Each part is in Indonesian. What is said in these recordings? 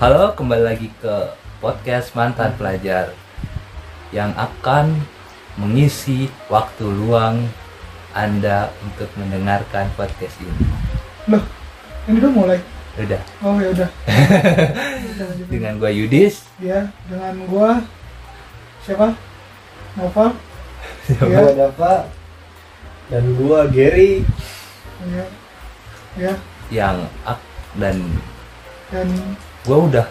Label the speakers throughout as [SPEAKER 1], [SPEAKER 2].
[SPEAKER 1] Halo, kembali lagi ke podcast mantan pelajar yang akan mengisi waktu luang Anda untuk mendengarkan podcast ini.
[SPEAKER 2] Loh, ini udah mulai.
[SPEAKER 1] Udah,
[SPEAKER 2] Oh ya udah.
[SPEAKER 1] dengan gua Yudis.
[SPEAKER 2] Ya, dengan gua siapa? Nova.
[SPEAKER 3] Gua
[SPEAKER 2] Ya,
[SPEAKER 3] Dava dan gua Gary.
[SPEAKER 2] ya, ya,
[SPEAKER 1] yang ak- dan
[SPEAKER 2] dan
[SPEAKER 1] gua udah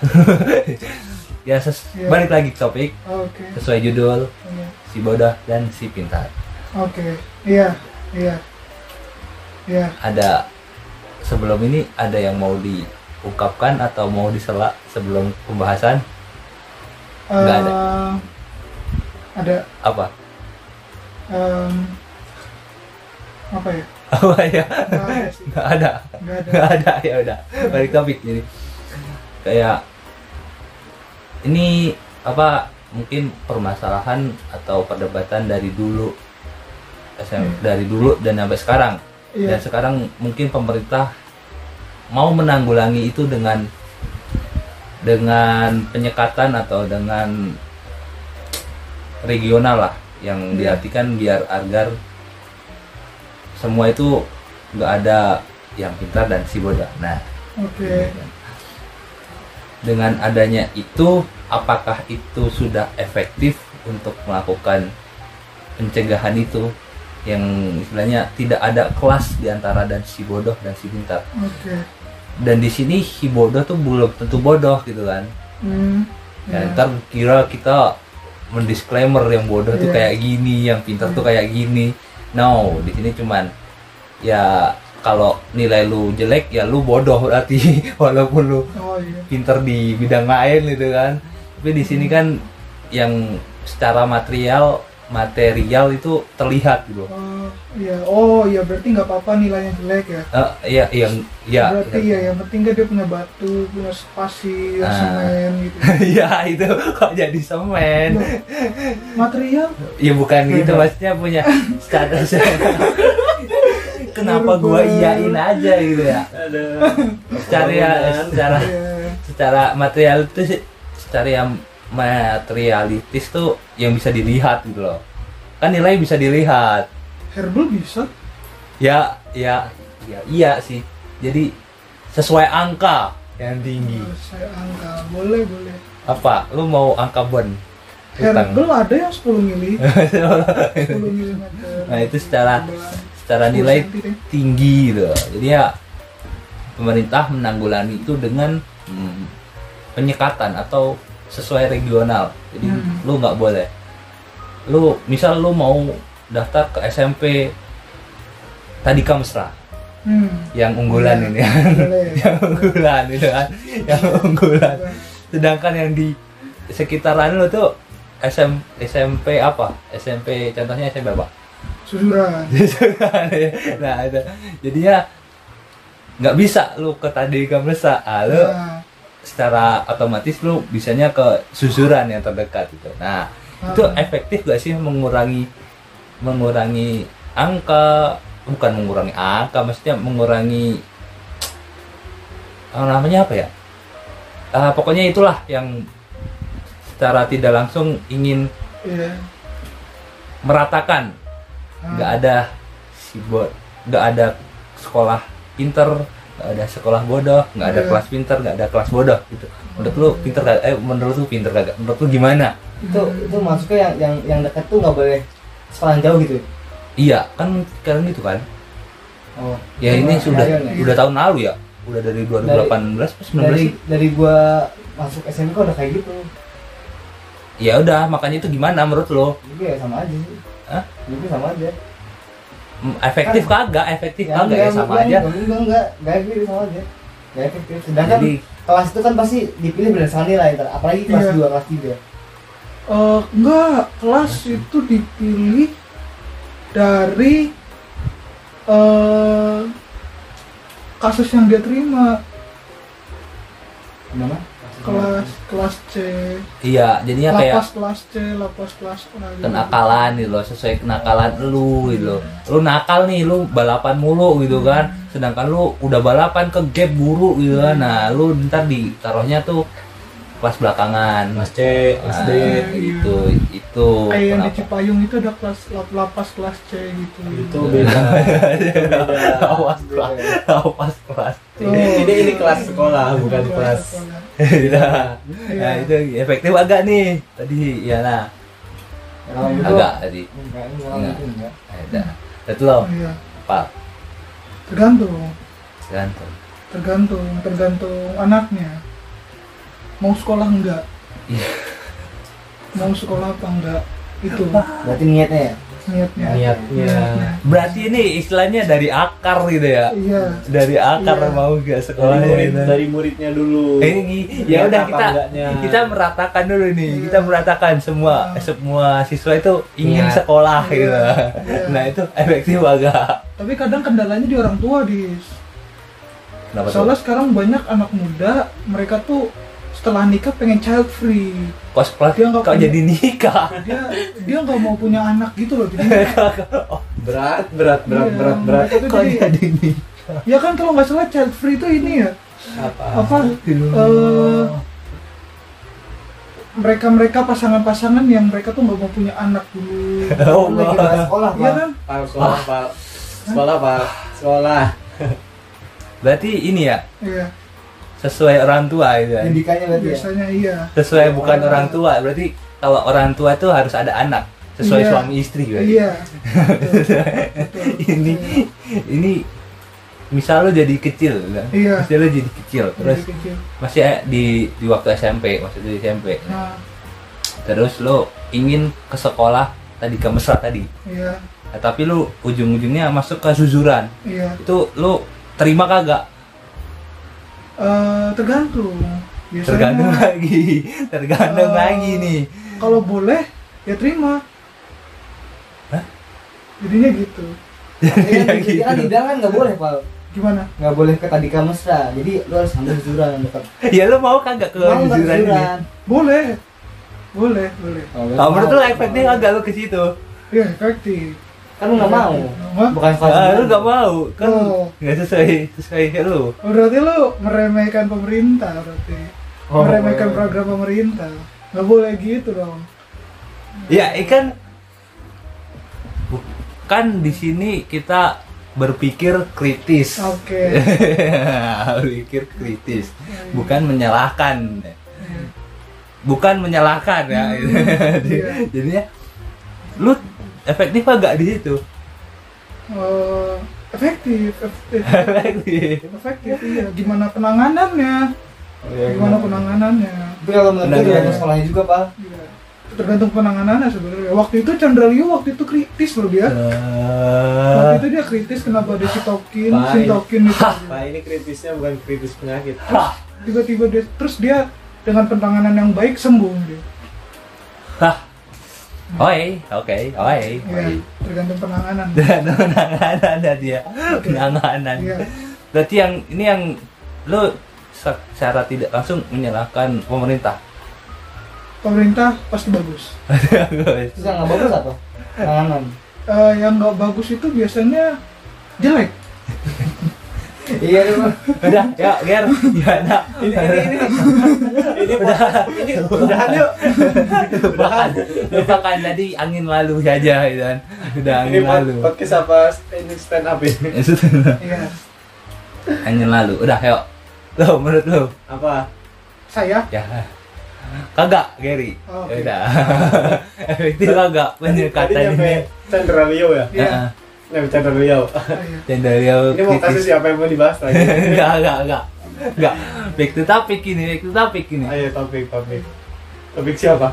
[SPEAKER 1] ya ses-
[SPEAKER 2] Iya.
[SPEAKER 1] balik lagi ke topik
[SPEAKER 2] oh, oke,
[SPEAKER 1] sesuai judul
[SPEAKER 2] iya,
[SPEAKER 1] si bodoh dan si pintar.
[SPEAKER 2] oke, iya, iya, iya.
[SPEAKER 1] Ada sebelum ini ada yang mau diungkapkan atau mau disela sebelum pembahasan Nggak ada.
[SPEAKER 2] Eh, ada.
[SPEAKER 1] apa?
[SPEAKER 2] em, apa ya?
[SPEAKER 1] Apa ya?
[SPEAKER 2] Nggak ada sih.
[SPEAKER 1] Nggak ada.
[SPEAKER 2] Nggak ada.
[SPEAKER 1] Nggak ada ya udah. Balik topik jadi kayak ini apa mungkin permasalahan atau perdebatan dari dulu SM,
[SPEAKER 2] Hmm.
[SPEAKER 1] dari dulu dan sampai sekarang
[SPEAKER 2] Iya,
[SPEAKER 1] dan sekarang mungkin pemerintah mau menanggulangi itu dengan dengan penyekatan atau dengan regional lah yang
[SPEAKER 2] Iya.
[SPEAKER 1] diartikan biar agar semua itu nggak ada yang pintar dan si bodoh. Nah,
[SPEAKER 2] oke.
[SPEAKER 1] dengan adanya itu apakah itu sudah efektif untuk melakukan pencegahan itu yang istilahnya tidak ada kelas di antara dan si bodoh dan si pintar
[SPEAKER 2] Oke.
[SPEAKER 1] dan di sini si bodoh tuh belum tentu bodoh gitu kan
[SPEAKER 2] Hmm.
[SPEAKER 1] ya,
[SPEAKER 2] iya.
[SPEAKER 1] ntar kira kita mendisklaimer yang bodoh tuh
[SPEAKER 2] Iya.
[SPEAKER 1] kayak gini yang pintar tuh
[SPEAKER 2] Iya.
[SPEAKER 1] kayak gini no di sini cuman ya kalau nilai lu jelek ya lu bodoh berarti walaupun lu
[SPEAKER 2] Oh iya.
[SPEAKER 1] pinter di bidang lain gitu kan tapi di sini kan yang secara material material itu terlihat gitu
[SPEAKER 2] Oh iya. Oh iya. Berarti nggak apa-apa nilainya jelek ya.
[SPEAKER 1] Eh, ya yang ya
[SPEAKER 2] berarti ya, yang penting kan dia punya batu punya pasir
[SPEAKER 1] Ah.
[SPEAKER 2] semen gitu
[SPEAKER 1] ya itu kok jadi semen
[SPEAKER 2] Loh, material
[SPEAKER 1] ya bukan gitu maksudnya punya status kenapa gua iyain aja gitu ya
[SPEAKER 3] Ada.
[SPEAKER 1] secara secara
[SPEAKER 2] ya
[SPEAKER 1] secara material itu sih- secara yang materialitis tuh yang bisa dilihat gitu loh kan nilai bisa dilihat
[SPEAKER 2] herbal bisa
[SPEAKER 1] Ya, ya, ya, iya sih. Jadi sesuai angka yang tinggi.
[SPEAKER 2] Oh, saya angka boleh boleh
[SPEAKER 1] Apa? Lu mau angka bon? Utang.
[SPEAKER 2] herbal ada yang 10 mili 10 milimeter
[SPEAKER 1] Nah, itu secara-
[SPEAKER 2] Bulan.
[SPEAKER 1] Secara
[SPEAKER 2] 10
[SPEAKER 1] nilai
[SPEAKER 2] senti deh.
[SPEAKER 1] tinggi gitu. Jadi ya pemerintah menanggulangi itu dengan hmm, penyekatan atau sesuai regional. Jadi
[SPEAKER 2] Hmm.
[SPEAKER 1] lu nggak boleh. Lu misal lu mau daftar ke SMP tadi Kamsra
[SPEAKER 2] hmm.
[SPEAKER 1] yang unggulan ini kan.
[SPEAKER 2] boleh Iya.
[SPEAKER 1] yang unggulan gitu kan yang unggulan sedangkan yang di sekitaran lo tuh SM, SMP apa SMP contohnya SMP apa
[SPEAKER 2] susuran
[SPEAKER 1] Gitu nah itu jadinya nggak bisa lu ke tadi kamlesa ah, lu
[SPEAKER 2] Nah,
[SPEAKER 1] secara otomatis lu bisanya ke susuran yang terdekat gitu nah itu
[SPEAKER 2] ah,
[SPEAKER 1] efektif gak sih mengurangi mengurangi angka bukan mengurangi angka maksudnya mengurangi ah, namanya apa ya Ah, pokoknya itulah yang secara tidak langsung ingin
[SPEAKER 2] iya.
[SPEAKER 1] meratakan
[SPEAKER 2] Ah,
[SPEAKER 1] nggak ada si bo- nggak ada sekolah pinter nggak ada sekolah bodoh nggak ada
[SPEAKER 2] Iya.
[SPEAKER 1] kelas pinter nggak ada kelas bodoh gitu menurut lu pinter kagak eh menurut lu pinter kagak menurut lu gimana
[SPEAKER 3] Itu itu maksudnya yang yang yang dekat tuh nggak boleh sekolah jauh gitu.
[SPEAKER 1] iya kan sekarang gitu kan
[SPEAKER 3] Oh.
[SPEAKER 1] Ya ini
[SPEAKER 3] Cuma
[SPEAKER 1] sudah
[SPEAKER 3] kemarin ya.
[SPEAKER 1] udah tahun lalu ya. Udah dari 2018 pas 19
[SPEAKER 3] dari
[SPEAKER 1] sih.
[SPEAKER 3] dari gua masuk SMK udah kayak gitu.
[SPEAKER 1] Ya udah, makanya itu gimana menurut lo?
[SPEAKER 3] Juga ya sama aja sih.
[SPEAKER 1] Hah?
[SPEAKER 3] Juga sama aja.
[SPEAKER 1] Mm, Efektif kagak? Efektif
[SPEAKER 3] Yang-
[SPEAKER 1] kagak ya
[SPEAKER 3] yang-
[SPEAKER 1] sama
[SPEAKER 3] yang-
[SPEAKER 1] aja.
[SPEAKER 3] yang- Enggak enggak enggak efektif sama aja. Enggak efektif. Sedangkan
[SPEAKER 1] Jadi
[SPEAKER 3] kelas itu kan pasti dipilih berdasarkan nilai ntar. Apalagi kelas
[SPEAKER 2] Iya.
[SPEAKER 3] 2, kelas 3.
[SPEAKER 2] Eh, enggak, kelas itu dipilih dari eh kasus yang dia terima.
[SPEAKER 3] Gimana? Kelas
[SPEAKER 2] kelas kelas C
[SPEAKER 1] iya jadinya kayak
[SPEAKER 2] lapas kelas C lapas kelas A gitu.
[SPEAKER 1] kenakalan gitu loh sesuai kenakalan lu gitu loh lu nakal nih lu balapan mulu gitu kan sedangkan lu udah balapan ke gap buru gitu kan nah lu ntar ditaruhnya tuh kelas belakangan
[SPEAKER 4] Mas C, Mas
[SPEAKER 1] Nah,
[SPEAKER 4] D.
[SPEAKER 1] itu itu
[SPEAKER 2] kayak yang di
[SPEAKER 1] kenapa?
[SPEAKER 2] Cipayung itu ada kelas lap- lapas kelas C gitu
[SPEAKER 4] Itu beda. Itu beda.
[SPEAKER 1] Awas,
[SPEAKER 4] Beda.
[SPEAKER 1] Lapas kelas
[SPEAKER 4] Ini, ini ini kelas sekolah bukan kelas.
[SPEAKER 2] sekolah.
[SPEAKER 1] nah,
[SPEAKER 2] Iya.
[SPEAKER 1] nah, itu efektif agak nih tadi ya nah
[SPEAKER 3] Kalau
[SPEAKER 2] Gitu.
[SPEAKER 3] itu
[SPEAKER 1] agak Iya. tadi
[SPEAKER 3] enggak enggak
[SPEAKER 1] Enggak.
[SPEAKER 3] itu enggak.
[SPEAKER 1] ada itu loh
[SPEAKER 2] iya
[SPEAKER 1] pak
[SPEAKER 2] tergantung
[SPEAKER 1] gantung
[SPEAKER 2] tergantung tergantung anaknya mau sekolah enggak
[SPEAKER 1] Iya.
[SPEAKER 2] mau sekolah apa enggak itu
[SPEAKER 3] Berarti niatnya ya.
[SPEAKER 2] niatnya
[SPEAKER 4] Niatnya.
[SPEAKER 1] berarti ini istilahnya dari akar gitu ya
[SPEAKER 2] iya
[SPEAKER 1] dari akar
[SPEAKER 2] Iya.
[SPEAKER 1] mau gak
[SPEAKER 4] Dari,
[SPEAKER 1] sekolahnya
[SPEAKER 4] murid,
[SPEAKER 1] gitu.
[SPEAKER 4] dari muridnya dulu.
[SPEAKER 1] Eh, gi- ya
[SPEAKER 4] Lihat
[SPEAKER 1] udah
[SPEAKER 4] apa
[SPEAKER 1] kita
[SPEAKER 4] enggaknya.
[SPEAKER 1] kita meratakan dulu nih
[SPEAKER 2] Iya.
[SPEAKER 1] kita meratakan semua eh,
[SPEAKER 2] Iya.
[SPEAKER 1] semua siswa itu ingin
[SPEAKER 3] Iya.
[SPEAKER 1] sekolah
[SPEAKER 2] Iya.
[SPEAKER 1] gitu
[SPEAKER 2] Iya.
[SPEAKER 1] nah itu efektif agak
[SPEAKER 2] tapi kadang kendalanya di orang tua di
[SPEAKER 1] kenapa
[SPEAKER 2] soalnya
[SPEAKER 1] tuh
[SPEAKER 2] sekarang banyak anak muda mereka tuh setelah nikah pengen child free
[SPEAKER 1] cosplay
[SPEAKER 2] Dia nggak
[SPEAKER 1] kok
[SPEAKER 2] punya-
[SPEAKER 1] jadi nikah
[SPEAKER 2] dia dia nggak mau punya anak gitu loh jadi
[SPEAKER 4] berat berat berat
[SPEAKER 2] Iya,
[SPEAKER 4] berat berat.
[SPEAKER 2] mereka tuh
[SPEAKER 1] kok
[SPEAKER 2] jadi-
[SPEAKER 1] jadi nikah
[SPEAKER 2] ya kan kalau nggak salah child free itu ini ya
[SPEAKER 4] Apa?
[SPEAKER 2] apa eh, mereka-mereka pasangan-pasangan yang mereka tuh nggak mau punya anak dulu
[SPEAKER 1] Oh,
[SPEAKER 3] Lu lagi bahas sekolah,
[SPEAKER 2] Iya
[SPEAKER 3] Pak.
[SPEAKER 2] kan?
[SPEAKER 4] Pak sekolah
[SPEAKER 1] Ah.
[SPEAKER 4] Pak. Sekolah Pak. Sekolah.
[SPEAKER 1] berarti ini ya
[SPEAKER 2] Iya,
[SPEAKER 1] sesuai orang tua gitu kan?
[SPEAKER 3] Pendidikannya berarti ya.
[SPEAKER 2] biasanya iya.
[SPEAKER 1] sesuai bukan orang tua berarti kalau orang tua itu harus ada anak sesuai
[SPEAKER 2] Iya.
[SPEAKER 1] suami istri gitu
[SPEAKER 2] Iya. Betul. Iya.
[SPEAKER 1] ini ini misal lo jadi kecil kan?
[SPEAKER 2] Iya.
[SPEAKER 1] misal lo jadi kecil terus
[SPEAKER 2] Dari kecil.
[SPEAKER 1] masih eh, di di waktu SMP maksudnya di SMP
[SPEAKER 2] Nah,
[SPEAKER 1] terus lo ingin ke sekolah tadi ke mesra tadi
[SPEAKER 2] iya,
[SPEAKER 1] Nah, tapi lo ujung-ujungnya masuk ke suzuran
[SPEAKER 2] iya.
[SPEAKER 1] itu lo terima kagak
[SPEAKER 2] Eh, tergantung. Biasanya
[SPEAKER 1] tergantung lagi tergantung
[SPEAKER 3] Oh.
[SPEAKER 2] Eh,
[SPEAKER 1] lagi nih
[SPEAKER 2] Kalau boleh, ya terima.
[SPEAKER 1] Hah?
[SPEAKER 2] Jadinya gitu.
[SPEAKER 3] Tapi kan
[SPEAKER 1] Iya,
[SPEAKER 3] di- kan
[SPEAKER 1] gitu.
[SPEAKER 3] di dalam kan nggak boleh, Pak.
[SPEAKER 2] Gimana?
[SPEAKER 3] Nggak boleh ke tadika mesra. Jadi lu harus ambil juran dekat.
[SPEAKER 1] ya lo mau kagak ke
[SPEAKER 3] Mau nggak
[SPEAKER 1] suzuran ini
[SPEAKER 3] juran?
[SPEAKER 2] Boleh. Boleh, boleh.
[SPEAKER 3] Oh,
[SPEAKER 1] Nah,
[SPEAKER 3] mau.
[SPEAKER 1] menurut lo efektif agak lo ke situ
[SPEAKER 2] Iya, efektif.
[SPEAKER 3] Kan lu nggak mau.
[SPEAKER 2] Hah?
[SPEAKER 3] Bukan sekolah.
[SPEAKER 1] Ah,
[SPEAKER 3] juran.
[SPEAKER 1] lu gak mau kan
[SPEAKER 2] Oh.
[SPEAKER 1] nggak sesuai sesuai kayak lu
[SPEAKER 2] Berarti lu meremehkan pemerintah berarti.
[SPEAKER 3] Oh.
[SPEAKER 2] meremehkan program pemerintah. Nggak boleh gitu dong.
[SPEAKER 1] ya ikan bukan di sini kita berpikir kritis Iya.
[SPEAKER 2] Oke.
[SPEAKER 1] berpikir kritis bukan menyalahkan bukan menyalahkan ya
[SPEAKER 2] Iya.
[SPEAKER 1] jadinya lu efektif agak di situ
[SPEAKER 2] Eh, efektif, efektif,
[SPEAKER 1] efektif
[SPEAKER 2] efektif. Iya. Gimana penanganannya? Gimana penanganannya?
[SPEAKER 3] Tapi kalau menurut
[SPEAKER 1] Benar,
[SPEAKER 3] gue
[SPEAKER 1] iya.
[SPEAKER 3] juran sekolahnya juga, Pak.
[SPEAKER 2] Iya. Tergantung penanganannya sebenarnya. Waktu itu Chandra Liu waktu itu kritis loh dia. Waktu itu dia kritis kenapa dia sitokin,
[SPEAKER 4] Baik.
[SPEAKER 2] sintokin gitu.
[SPEAKER 4] Pak ini kritisnya bukan kritis penyakit.
[SPEAKER 2] Tiba-tiba dia terus dia dengan penanganan yang baik sembuh dia.
[SPEAKER 1] Oi, oke, oi,
[SPEAKER 2] Iya,
[SPEAKER 1] oi.
[SPEAKER 2] tergantung penanganan.
[SPEAKER 1] Dan penanganan ada dia, penanganan.
[SPEAKER 2] Iya.
[SPEAKER 1] Berarti yang ini yang lo secara tidak langsung menyalahkan pemerintah.
[SPEAKER 2] Pemerintah pasti bagus. Iya.
[SPEAKER 3] Terus yang nggak bagus apa? Penanganan.
[SPEAKER 2] Eh, yang nggak bagus itu biasanya jelek.
[SPEAKER 3] Iya, lu, Pak.
[SPEAKER 1] Udah, ya, Ger, ya, nah.
[SPEAKER 4] Ini ini ini. Ini udah ini udahan yuk.
[SPEAKER 1] lupakan, lupakan tadi angin lalu saja, gitu kan. Udah
[SPEAKER 4] Ini
[SPEAKER 1] angin
[SPEAKER 4] pod-
[SPEAKER 1] lalu.
[SPEAKER 4] podcast apa ini stand up ini?
[SPEAKER 1] Ya, sudah.
[SPEAKER 2] Iya.
[SPEAKER 1] angin lalu, udah, yuk. Lo menurut lo,
[SPEAKER 4] Apa?
[SPEAKER 2] Saya
[SPEAKER 1] ya, kagak, Gary.
[SPEAKER 2] Oh,
[SPEAKER 1] Ya
[SPEAKER 2] oke.
[SPEAKER 1] Udah, efektif kagak
[SPEAKER 4] Tadi
[SPEAKER 1] pendekatan
[SPEAKER 4] nyampe
[SPEAKER 1] ini.
[SPEAKER 4] Chandra Leo ya?
[SPEAKER 1] Heeh.
[SPEAKER 4] Nyampe Chandra Leo.
[SPEAKER 2] iya.
[SPEAKER 1] Dan dari yang
[SPEAKER 4] Ini mau kasus
[SPEAKER 1] kritis.
[SPEAKER 4] siapa yang mau dibahas lagi?
[SPEAKER 1] Enggak, enggak, enggak. Enggak. Back to topic ini, back to topic ini.
[SPEAKER 4] Ayo topik topik. Topik siapa?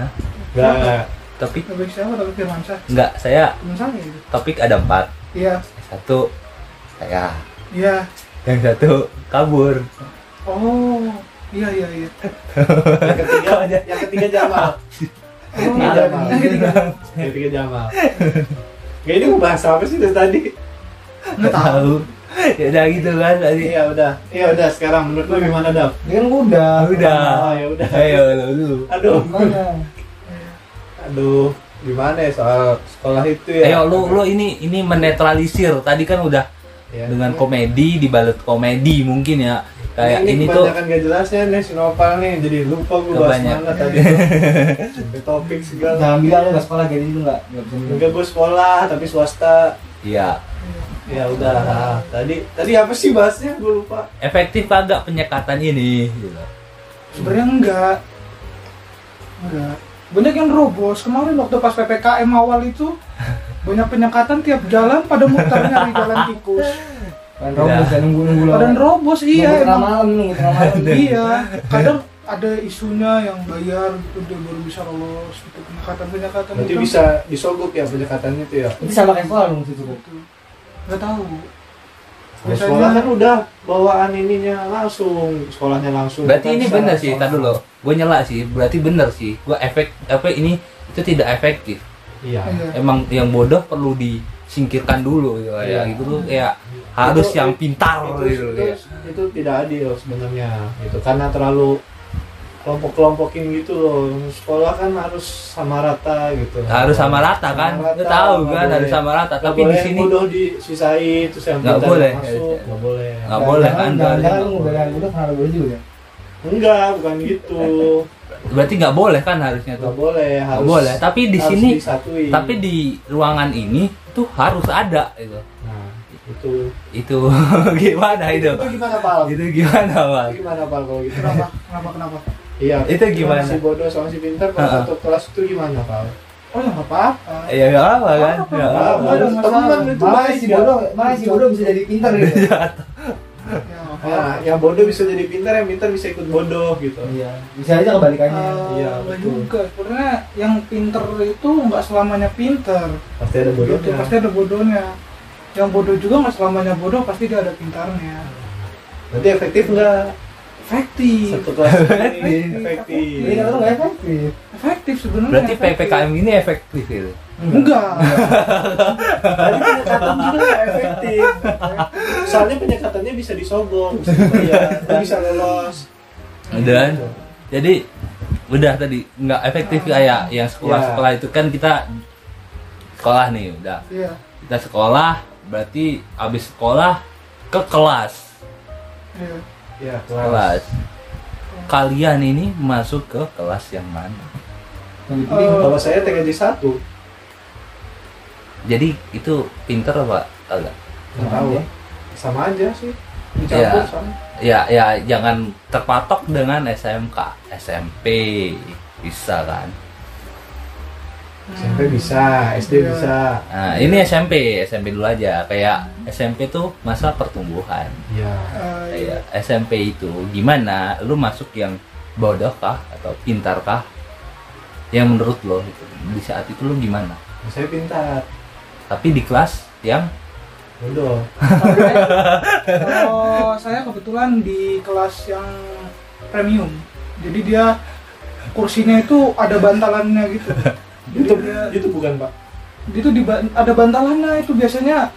[SPEAKER 1] Hah?
[SPEAKER 4] Enggak, enggak.
[SPEAKER 1] Topik
[SPEAKER 2] Tapi siapa tapi Firmansyah.
[SPEAKER 1] enggak, saya
[SPEAKER 2] Teman saya gitu.
[SPEAKER 1] topik ada empat.
[SPEAKER 2] Iya.
[SPEAKER 1] satu saya
[SPEAKER 2] Iya.
[SPEAKER 1] yang satu kabur
[SPEAKER 2] Oh. Iya iya iya.
[SPEAKER 4] Yang ketiga, yang ketiga Jamal.
[SPEAKER 2] Oh,
[SPEAKER 4] Nggak ada, Pak.
[SPEAKER 2] iya, iya.
[SPEAKER 4] Yang ketiga Jamal. Gak ini mau bahas apa sih dari tadi?
[SPEAKER 2] Nggak tahu.
[SPEAKER 1] ya udah gitu kan tadi
[SPEAKER 4] Iya udah, iya udah. Sekarang menurut lu gimana Dap?
[SPEAKER 3] Dia kan udah.
[SPEAKER 1] Ah, udah
[SPEAKER 4] Oh, ya udah.
[SPEAKER 1] ayo lu
[SPEAKER 4] Aduh,
[SPEAKER 3] Gimana?
[SPEAKER 4] aduh. Gimana ya soal sekolah itu ya?
[SPEAKER 1] ayo lu lu ini ini menetralisir tadi kan udah
[SPEAKER 4] Ya.
[SPEAKER 1] dengan komedi dibalut komedi mungkin ya kayak ini,
[SPEAKER 4] ini,
[SPEAKER 1] tuh
[SPEAKER 4] kebanyakan gak jelasnya nih sinopal nih jadi lupa gue bahas
[SPEAKER 1] Kebanyakan.
[SPEAKER 4] mana tadi tuh. Sampai topik segala
[SPEAKER 3] Jangan bilang lu nggak sekolah jadi lu nggak nggak bisa minum.
[SPEAKER 4] enggak gue sekolah tapi swasta
[SPEAKER 1] ya
[SPEAKER 4] ya udah Ah, tadi tadi apa sih bahasnya gue lupa
[SPEAKER 1] efektif agak penyekatan ini gitu.
[SPEAKER 2] sebenarnya enggak enggak banyak yang robos kemarin waktu pas ppkm awal itu banyak penyekatan tiap jalan pada muter nyari jalan tikus
[SPEAKER 3] Kan robos
[SPEAKER 1] Udah.
[SPEAKER 3] dan nunggu nunggu lah.
[SPEAKER 2] pada robos
[SPEAKER 3] Nunggu
[SPEAKER 2] iya
[SPEAKER 3] tengah
[SPEAKER 2] emang
[SPEAKER 3] malam, nunggu tengah malam.
[SPEAKER 2] iya kadang ada isunya yang bayar gitu dia baru bisa lolos gitu penyekatan penyekatan
[SPEAKER 4] berarti bisa disogok ya pendekatannya tuh ya
[SPEAKER 3] Itu sama kayak sekolah lu mesti cukup.
[SPEAKER 2] gitu. nggak tahu
[SPEAKER 4] Kalau sekolah kan udah bawaan ininya langsung sekolahnya langsung Kan
[SPEAKER 1] berarti
[SPEAKER 4] Bukan
[SPEAKER 1] ini
[SPEAKER 4] secara
[SPEAKER 1] bener sih
[SPEAKER 4] sekolah.
[SPEAKER 1] tadi dulu gue nyela sih berarti bener sih gue efek apa ini itu tidak efektif
[SPEAKER 4] iya
[SPEAKER 2] Iya.
[SPEAKER 1] emang yang bodoh perlu disingkirkan dulu gitu ya
[SPEAKER 4] Iya.
[SPEAKER 1] gitu tuh kayak harus
[SPEAKER 4] Itu-
[SPEAKER 1] yang pintar
[SPEAKER 4] itu,
[SPEAKER 1] gitu
[SPEAKER 4] itu,
[SPEAKER 1] kayak.
[SPEAKER 4] itu tidak adil sebenarnya gitu karena terlalu kelompok-kelompokin gitu loh sekolah kan harus sama rata gitu
[SPEAKER 1] harus sama rata kan lu
[SPEAKER 4] Sama rata,
[SPEAKER 1] tahu
[SPEAKER 4] nggak
[SPEAKER 1] kan harus
[SPEAKER 4] boleh.
[SPEAKER 1] sama rata
[SPEAKER 4] Nggak
[SPEAKER 1] tapi di
[SPEAKER 4] boleh
[SPEAKER 1] sini
[SPEAKER 4] bodoh disisain terus yang
[SPEAKER 1] Nggak
[SPEAKER 4] pintar
[SPEAKER 1] boleh.
[SPEAKER 4] masuk nggak boleh
[SPEAKER 1] Nggak boleh kan,
[SPEAKER 3] Jangan
[SPEAKER 1] nggak
[SPEAKER 3] jangan
[SPEAKER 1] boleh.
[SPEAKER 3] lu ngebedain udah karena gue juga. ya.
[SPEAKER 4] enggak bukan gitu
[SPEAKER 1] berarti nggak boleh kan harusnya
[SPEAKER 4] nggak
[SPEAKER 1] tuh
[SPEAKER 4] boleh
[SPEAKER 1] nggak
[SPEAKER 4] harus
[SPEAKER 1] boleh tapi di
[SPEAKER 4] harus
[SPEAKER 1] sini
[SPEAKER 4] disatuin.
[SPEAKER 1] tapi di ruangan ini tuh harus ada gitu
[SPEAKER 4] nah itu
[SPEAKER 1] itu gimana Nah, itu
[SPEAKER 4] itu gimana pal
[SPEAKER 1] itu gimana
[SPEAKER 4] Itu
[SPEAKER 1] bang
[SPEAKER 4] gimana pal kalau gitu
[SPEAKER 2] kenapa kenapa kenapa
[SPEAKER 4] iya
[SPEAKER 1] Itu gimana?
[SPEAKER 4] si bodoh sama si pintar kalau
[SPEAKER 1] Ha-ha.
[SPEAKER 4] satu kelas itu gimana pal
[SPEAKER 2] oh ya nggak apa-apa
[SPEAKER 1] ya nggak apa kan Nggak
[SPEAKER 2] Ah,
[SPEAKER 1] apa-apa.
[SPEAKER 2] nggak ada masalah.
[SPEAKER 4] teman itu
[SPEAKER 3] Makanya
[SPEAKER 4] baik
[SPEAKER 3] si
[SPEAKER 4] ya.
[SPEAKER 3] bodoh, makanya si bodoh bisa jadi pinter gitu.
[SPEAKER 2] ya, nggak apa-apa.
[SPEAKER 4] Nah, yang bodoh bisa jadi pintar, yang pintar bisa ikut bodoh gitu.
[SPEAKER 3] Iya, bisa aja kebalikannya.
[SPEAKER 4] Iya,
[SPEAKER 2] Iya,
[SPEAKER 4] betul.
[SPEAKER 2] juga. Sebenarnya yang pinter itu nggak selamanya pinter.
[SPEAKER 4] Pasti ada
[SPEAKER 2] Gitu,
[SPEAKER 4] bodohnya.
[SPEAKER 2] pasti ada bodohnya. Yang bodoh juga nggak selamanya bodoh, pasti dia ada pintarnya.
[SPEAKER 4] Berarti efektif enggak?
[SPEAKER 2] Efektif,
[SPEAKER 4] Satu kelas ini
[SPEAKER 2] Efektif.
[SPEAKER 4] efektif. Iya,
[SPEAKER 3] Jadi kata lu nggak efektif.
[SPEAKER 2] efektif sebenarnya.
[SPEAKER 1] berarti
[SPEAKER 2] efektif.
[SPEAKER 1] ppkm ini efektif gitu
[SPEAKER 2] Enggak.
[SPEAKER 4] Tadi penyekatan juga nggak efektif. Soalnya penyekatannya bisa disogok, bisa dibayar, lu bisa lolos.
[SPEAKER 1] dan jadi udah tadi nggak efektif kayak yang sekolah-sekolah
[SPEAKER 4] Iya.
[SPEAKER 1] itu kan kita sekolah nih udah
[SPEAKER 2] Iya.
[SPEAKER 1] kita sekolah berarti abis sekolah ke kelas
[SPEAKER 2] Iya.
[SPEAKER 4] Ya,
[SPEAKER 1] kelas kalian ini masuk ke kelas yang mana
[SPEAKER 3] Yang
[SPEAKER 2] Eh,
[SPEAKER 3] dipilih.
[SPEAKER 4] Kalau saya TKJ 1,
[SPEAKER 1] jadi itu pinter apa agak
[SPEAKER 4] nggak tahu.
[SPEAKER 3] Iya.
[SPEAKER 4] Sama aja sih. Dicampur
[SPEAKER 1] Iya.
[SPEAKER 4] sama.
[SPEAKER 1] ya ya jangan terpatok dengan SMK SMP bisa kan
[SPEAKER 4] SMP bisa, SD
[SPEAKER 2] Iya.
[SPEAKER 4] bisa.
[SPEAKER 1] nah ini SMP SMP dulu aja kayak SMP tuh masa pertumbuhan
[SPEAKER 4] Iya.
[SPEAKER 2] Eh, iya.
[SPEAKER 1] Kayak SMP itu gimana lu masuk yang bodoh kah atau pintar kah yang menurut lo gitu. di saat itu lu gimana
[SPEAKER 4] Saya pintar.
[SPEAKER 1] tapi di kelas yang
[SPEAKER 4] Bodoh.
[SPEAKER 2] Kalau saya kebetulan di kelas yang premium, jadi dia kursinya itu ada bantalannya gitu.
[SPEAKER 4] Itu
[SPEAKER 2] dia-
[SPEAKER 4] itu bukan, Pak.
[SPEAKER 2] itu di ba- ada bantalannya itu biasanya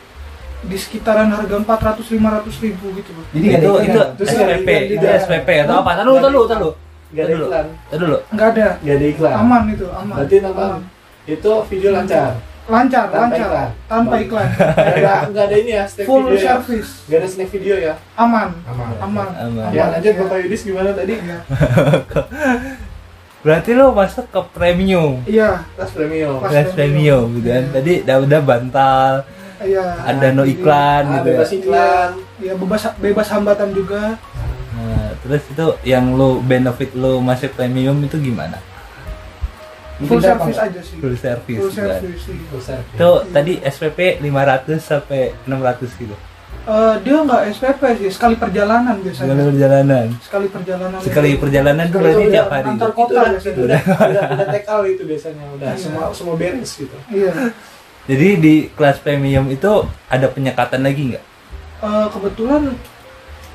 [SPEAKER 2] di sekitaran harga 400 500 ribu gitu loh
[SPEAKER 3] Jadi nggak
[SPEAKER 1] itu
[SPEAKER 3] ada
[SPEAKER 1] itu
[SPEAKER 3] iklan.
[SPEAKER 4] Terus
[SPEAKER 1] SPP
[SPEAKER 4] yang- yang
[SPEAKER 1] itu
[SPEAKER 4] tidak-
[SPEAKER 1] SPP atau apa tahu tahu tahu
[SPEAKER 4] Gak ada
[SPEAKER 1] Dulu.
[SPEAKER 4] iklan.
[SPEAKER 1] tahu dulu
[SPEAKER 2] nggak ada
[SPEAKER 4] Gak ada iklan.
[SPEAKER 2] aman itu aman
[SPEAKER 4] Nah. Berarti nonton
[SPEAKER 2] Aman.
[SPEAKER 4] itu video lancar.
[SPEAKER 2] lancar
[SPEAKER 4] tanpa
[SPEAKER 2] lancar
[SPEAKER 4] iklan.
[SPEAKER 2] tanpa iklan
[SPEAKER 4] Gak ada, nggak ada ini ya, snack
[SPEAKER 2] full
[SPEAKER 4] video ya.
[SPEAKER 2] service
[SPEAKER 4] Gak ada snack video ya.
[SPEAKER 2] aman
[SPEAKER 4] Aman.
[SPEAKER 2] aman
[SPEAKER 1] Aman.
[SPEAKER 4] Ya
[SPEAKER 2] aman.
[SPEAKER 4] lanjut Bapak Yudis gimana tadi?
[SPEAKER 2] Iya.
[SPEAKER 1] berarti lu masuk ke premium
[SPEAKER 2] iya
[SPEAKER 4] Tas premium.
[SPEAKER 2] Pas
[SPEAKER 1] kelas premium gitu kan
[SPEAKER 2] Iya.
[SPEAKER 1] tadi udah udah bantal
[SPEAKER 2] iya
[SPEAKER 1] ada no iklan
[SPEAKER 4] Ah,
[SPEAKER 1] gitu ya.
[SPEAKER 4] bebas iklan.
[SPEAKER 2] iya bebas bebas hambatan juga
[SPEAKER 1] Nah, terus itu yang lu benefit lu masuk premium itu gimana
[SPEAKER 2] full
[SPEAKER 3] Pintar apa
[SPEAKER 2] service
[SPEAKER 3] nggak?
[SPEAKER 2] aja sih
[SPEAKER 1] full service
[SPEAKER 2] full
[SPEAKER 1] gitu kan.
[SPEAKER 2] service iya.
[SPEAKER 4] Besar.
[SPEAKER 1] itu tadi SPP 500 sampai 600 gitu
[SPEAKER 2] Eh, dia nggak SPP sih sekali perjalanan
[SPEAKER 1] sekali
[SPEAKER 2] biasanya
[SPEAKER 1] perjalanan
[SPEAKER 2] sekali perjalanan
[SPEAKER 1] sekali
[SPEAKER 2] itu.
[SPEAKER 1] perjalanan tuh
[SPEAKER 4] Kalau
[SPEAKER 1] berarti
[SPEAKER 4] udah
[SPEAKER 1] tiap hari gitu.
[SPEAKER 2] antar
[SPEAKER 4] Itu
[SPEAKER 2] kota
[SPEAKER 4] udah,
[SPEAKER 2] biasanya.
[SPEAKER 4] itu udah, udah, udah tekal itu biasanya udah
[SPEAKER 2] Iya.
[SPEAKER 4] semua semua beres gitu.
[SPEAKER 2] iya
[SPEAKER 1] jadi di kelas premium itu ada penyekatan lagi nggak
[SPEAKER 2] Eh, kebetulan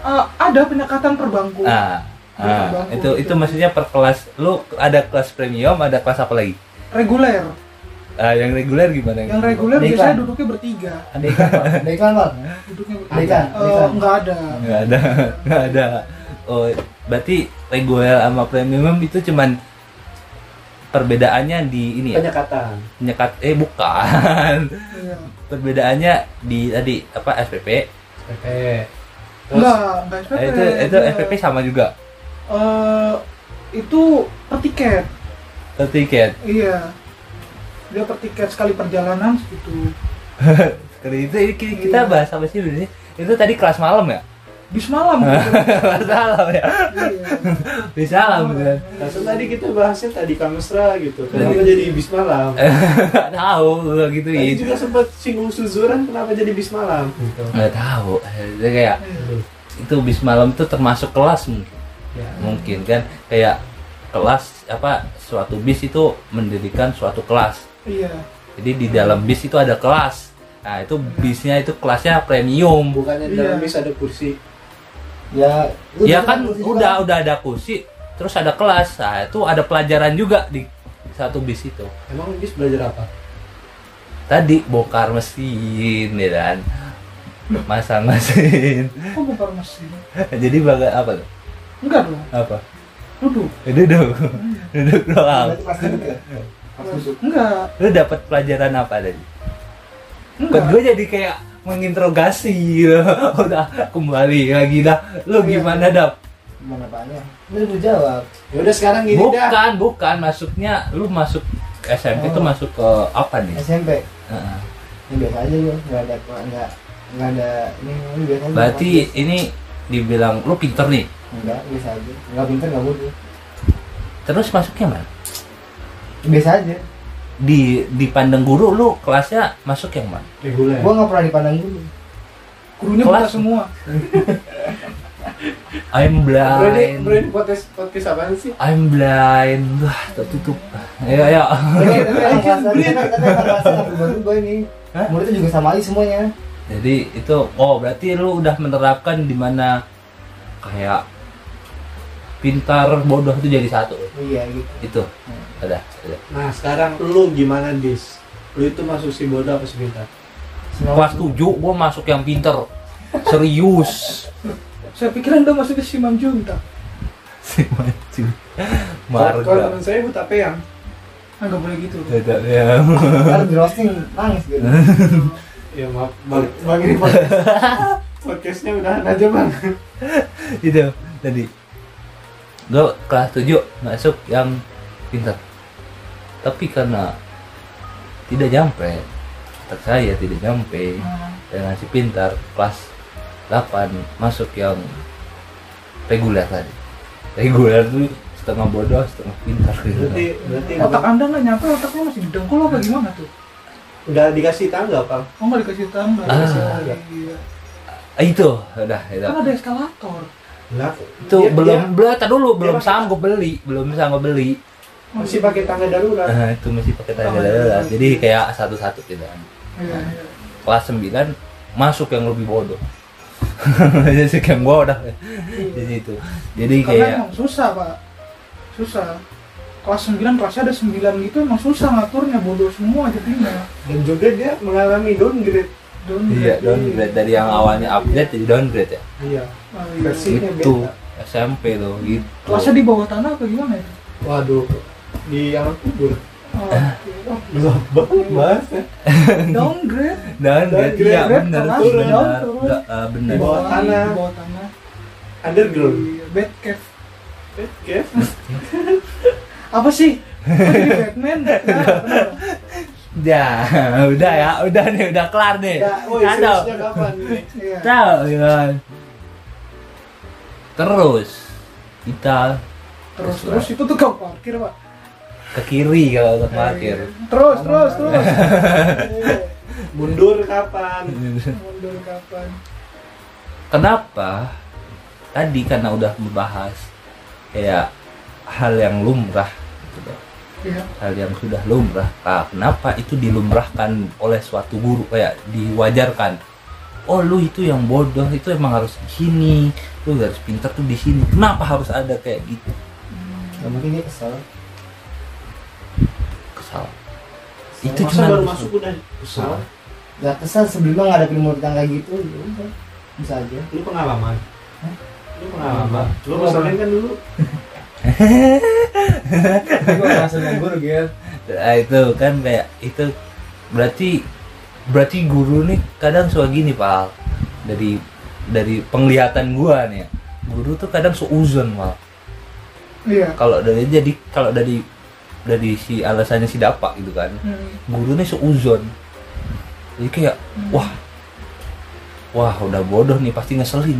[SPEAKER 2] eh, ada penyekatan per bangku.
[SPEAKER 1] ah,
[SPEAKER 2] Iya,
[SPEAKER 1] ah,
[SPEAKER 2] Bangku
[SPEAKER 1] itu itu
[SPEAKER 2] gitu.
[SPEAKER 1] maksudnya per kelas lu ada kelas premium ada kelas apa lagi
[SPEAKER 2] Reguler.
[SPEAKER 1] Ah, yang reguler gimana?
[SPEAKER 2] Yang reguler
[SPEAKER 3] Deklan.
[SPEAKER 2] biasanya duduknya bertiga.
[SPEAKER 1] Ada
[SPEAKER 4] kan,
[SPEAKER 1] ikan, Pak?
[SPEAKER 3] Ada iklan bang?
[SPEAKER 2] Duduknya bertiga.
[SPEAKER 3] Deklan,
[SPEAKER 2] Eh,
[SPEAKER 3] deklan.
[SPEAKER 2] nggak ada.
[SPEAKER 1] nggak ada nggak ada oh berarti reguler sama premium itu cuman perbedaannya di ini ya,
[SPEAKER 4] penyekatan
[SPEAKER 1] penyekat eh bukan
[SPEAKER 2] Iya.
[SPEAKER 1] perbedaannya di tadi apa SPP
[SPEAKER 4] SPP terus
[SPEAKER 2] Enggak, enggak SPP.
[SPEAKER 1] Eh, itu itu
[SPEAKER 2] Iya.
[SPEAKER 1] SPP sama juga
[SPEAKER 2] Eh, itu per tiket.
[SPEAKER 1] per tiket
[SPEAKER 2] Iya. Dia per tiket sekali perjalanan segitu.
[SPEAKER 1] Kali itu ini ki-
[SPEAKER 2] Iya.
[SPEAKER 1] kita bahas apa sih ini itu tadi kelas malam ya
[SPEAKER 2] Bis malam. gitu.
[SPEAKER 1] kelas malam ya
[SPEAKER 2] Iya.
[SPEAKER 1] di salam kan
[SPEAKER 4] langsung nah, tadi kita bahasnya tadi kamesra gitu kenapa
[SPEAKER 1] Tadi- Eh,
[SPEAKER 4] jadi bis malam
[SPEAKER 1] nggak gitu, tahu gua
[SPEAKER 4] tadi
[SPEAKER 1] gituin
[SPEAKER 4] juga sempat singgung suzuran kenapa jadi bis malam gitu
[SPEAKER 1] nggak tahu Jadi kayak
[SPEAKER 4] Aduh,
[SPEAKER 1] itu bis malam itu termasuk kelas mungkin
[SPEAKER 4] ya.
[SPEAKER 1] mungkin kan kayak kelas apa suatu bis itu mendirikan suatu kelas
[SPEAKER 2] Iya.
[SPEAKER 1] jadi di dalam bis itu ada kelas nah itu bisnya itu kelasnya premium
[SPEAKER 4] bukannya di
[SPEAKER 2] Iya.
[SPEAKER 4] dalam bis ada kursi
[SPEAKER 3] Ya, lu
[SPEAKER 1] ya
[SPEAKER 3] duduk
[SPEAKER 1] kan
[SPEAKER 3] di situ,
[SPEAKER 1] udah
[SPEAKER 3] Bang.
[SPEAKER 1] udah ada kursi terus ada kelas nah itu ada pelajaran juga di satu bis itu
[SPEAKER 4] emang bis belajar apa
[SPEAKER 1] tadi bongkar mesin ya kan masang mesin
[SPEAKER 2] Kok bongkar mesin?
[SPEAKER 1] jadi baga apa tuh?
[SPEAKER 2] Enggak dong.
[SPEAKER 1] apa
[SPEAKER 2] Duduk.
[SPEAKER 1] Eh, duduk duduk doang
[SPEAKER 3] Berarti pas duduk ya? Pas duduk.
[SPEAKER 2] Enggak.
[SPEAKER 1] lu dapat pelajaran apa tadi Kok
[SPEAKER 2] Enggak.
[SPEAKER 1] gue jadi kayak menginterogasi gitu. Udah kembali lagi dah. Lu
[SPEAKER 4] Iya.
[SPEAKER 1] gimana dah?
[SPEAKER 3] Gimana apanya? Lu udah jawab.
[SPEAKER 4] ya udah sekarang gini dah
[SPEAKER 1] Bukan, bukan. Masuknya lu masuk SMP tuh
[SPEAKER 3] Oh.
[SPEAKER 1] masuk ke apa nih?
[SPEAKER 3] SMP.
[SPEAKER 1] Heeh.
[SPEAKER 3] Yang biasa aja lu, nggak ada nggak nggak ada ini ini biasa aja.
[SPEAKER 1] Berarti ini dibilang lu pinter nih.
[SPEAKER 3] enggak biasa aja. Enggak pintar enggak bodoh.
[SPEAKER 1] Terus masuknya mana?
[SPEAKER 3] Biasa aja.
[SPEAKER 1] Di di pandang guru lu kelasnya masuk yang mana?
[SPEAKER 4] reguler
[SPEAKER 3] Gua nggak pernah dipandang dulu.
[SPEAKER 2] Gurunya
[SPEAKER 1] Kelas.
[SPEAKER 2] buta semua.
[SPEAKER 1] I'm
[SPEAKER 4] Bro ini, bro
[SPEAKER 1] blind.
[SPEAKER 4] ini podcast, podcast apaan sih?
[SPEAKER 1] I'm blind. Wah, tertutup. Ya, Ayo, ayo.
[SPEAKER 3] Tapi tapi emang ngerasa- tapi tapi emang ngerasa nggak berubah-ubah ini.
[SPEAKER 1] Hah?
[SPEAKER 3] Muridnya juga sama aja semuanya.
[SPEAKER 1] Jadi itu oh berarti lu udah menerapkan di mana kayak pintar bodoh itu jadi satu
[SPEAKER 3] Iya gitu.
[SPEAKER 1] itu ada ada
[SPEAKER 4] Nah sekarang lu gimana dis? Lu itu masuk si bodoh apa si pintar?
[SPEAKER 3] Semua-
[SPEAKER 1] kelas 7 gua masuk yang pintar serius
[SPEAKER 2] Saya pikiran udah masuk ke Simam Junta.
[SPEAKER 1] si maju
[SPEAKER 4] Kalau
[SPEAKER 1] marga
[SPEAKER 4] teman saya buta peyang
[SPEAKER 2] Ah, nggak boleh gitu.
[SPEAKER 1] tidak ya
[SPEAKER 3] Kan di roasting nangis gitu.
[SPEAKER 4] Ya maaf, bang, bang ini podcast Podcastnya udahan aja bang
[SPEAKER 1] itu tadi gua kelas 7 masuk yang pintar tapi karena tidak nyampe otak saya tidak nyampe
[SPEAKER 2] Nah,
[SPEAKER 1] dengan si Ya, pintar kelas 8 masuk yang reguler tadi reguler tuh setengah bodoh setengah pintar gitu
[SPEAKER 4] Berarti, berarti
[SPEAKER 2] Nah, otak anda nggak nyampe, otaknya masih di dengkul apa gimana tuh?
[SPEAKER 4] udah dikasih tangga bang
[SPEAKER 2] Oh nggak dikasih tambah.
[SPEAKER 1] Ah.
[SPEAKER 2] Iya.
[SPEAKER 1] Ah, itu udah itu
[SPEAKER 2] Kan ada eskalator.
[SPEAKER 4] Lah,
[SPEAKER 1] itu
[SPEAKER 4] dia-
[SPEAKER 1] belum
[SPEAKER 4] dia
[SPEAKER 1] belum tar dulu belum
[SPEAKER 4] pakai-
[SPEAKER 1] sanggup beli belum sanggup beli
[SPEAKER 4] Masih pakai tangga darurat
[SPEAKER 1] Ah, itu masih pakai tanda
[SPEAKER 2] Oh,
[SPEAKER 1] darurat
[SPEAKER 2] iya.
[SPEAKER 1] jadi kayak satu satu tidak Nah,
[SPEAKER 2] Iya, iya.
[SPEAKER 1] kelas 9 masuk yang lebih bodoh masuk yang bodoh di situ jadi
[SPEAKER 2] Karena
[SPEAKER 1] kayak
[SPEAKER 2] emang susah pak, susah. Kelas 9 kelasnya ada 9 gitu emang susah ngaturnya bodoh semua jadinya.
[SPEAKER 4] Dan juga dia mengalami downgrade
[SPEAKER 2] Downgrade.
[SPEAKER 1] iya downgrade dari yang awalnya update jadi downgrade ya
[SPEAKER 4] Iya
[SPEAKER 2] Oh, iya.
[SPEAKER 4] Versi- Sini
[SPEAKER 1] itu
[SPEAKER 4] beda.
[SPEAKER 1] SMP tuh gitu
[SPEAKER 2] Kelasnya di bawah tanah apa gimana ya?
[SPEAKER 4] Waduh Di alam kubur
[SPEAKER 1] Eh.
[SPEAKER 2] Oh, iya. Oh,
[SPEAKER 4] Gelap banget bahasnya
[SPEAKER 2] downgrade
[SPEAKER 1] dan
[SPEAKER 4] Dan
[SPEAKER 1] grade ya
[SPEAKER 2] grade
[SPEAKER 1] benar
[SPEAKER 2] kelas,
[SPEAKER 1] benar
[SPEAKER 2] down terus.
[SPEAKER 1] Nggak, eh,
[SPEAKER 2] di
[SPEAKER 1] benar
[SPEAKER 4] bawah
[SPEAKER 2] bawah
[SPEAKER 4] tanah.
[SPEAKER 2] Di bawah tanah.
[SPEAKER 4] Underground Eh,
[SPEAKER 2] Iya, Bad cave.
[SPEAKER 4] Oke
[SPEAKER 2] Apa sih? Kok jadi Batman? Nah, kenapa?
[SPEAKER 1] ya udah ya udah nih udah kelar nih
[SPEAKER 4] Ya, woi
[SPEAKER 1] Tahu.
[SPEAKER 4] seriusnya kapan nih?
[SPEAKER 2] Iya.
[SPEAKER 1] tahu ya terus kita
[SPEAKER 2] Terus terus itu tuh kau parkir pak.
[SPEAKER 1] ke kiri kalau untuk parkir
[SPEAKER 2] Terus terus terus. Iya.
[SPEAKER 4] Mundur kapan?
[SPEAKER 2] Mundur kapan?
[SPEAKER 1] kenapa tadi karena udah membahas kayak hal yang lumrah gitu loh.
[SPEAKER 2] Iya.
[SPEAKER 1] hal yang sudah lumrah Nah, kenapa itu dilumrahkan oleh suatu guru kayak diwajarkan oh lu itu yang bodoh itu emang harus di sini lu harus pintar tuh di sini kenapa harus ada kayak gitu
[SPEAKER 3] Ya mungkin dia kesel.
[SPEAKER 1] kesal Itu
[SPEAKER 4] Masa
[SPEAKER 1] cuman
[SPEAKER 4] baru
[SPEAKER 1] busur.
[SPEAKER 4] masuk udah Oh,
[SPEAKER 1] Busur.
[SPEAKER 4] Salah.
[SPEAKER 3] Gak kesal sebelumnya ngadepin mulut tangga gitu ya udah bisa aja
[SPEAKER 4] Lu pengalaman.
[SPEAKER 3] Hah?
[SPEAKER 4] Lu pengalaman. Lu masalahnya kan dulu
[SPEAKER 3] Gue langsung nganggur gitu
[SPEAKER 1] Nah, itu kan kayak itu berarti berarti guru nih kadang suka gini Pak Al. dari dari penglihatan gua nih ya, guru tuh kadang seuzon mal
[SPEAKER 2] iya
[SPEAKER 1] kalau dari jadi kalau dari dari si alasannya si dapak gitu kan
[SPEAKER 2] Hmm.
[SPEAKER 1] gurunya seuzon jadi kayak wah wah udah bodoh nih pasti ngeselin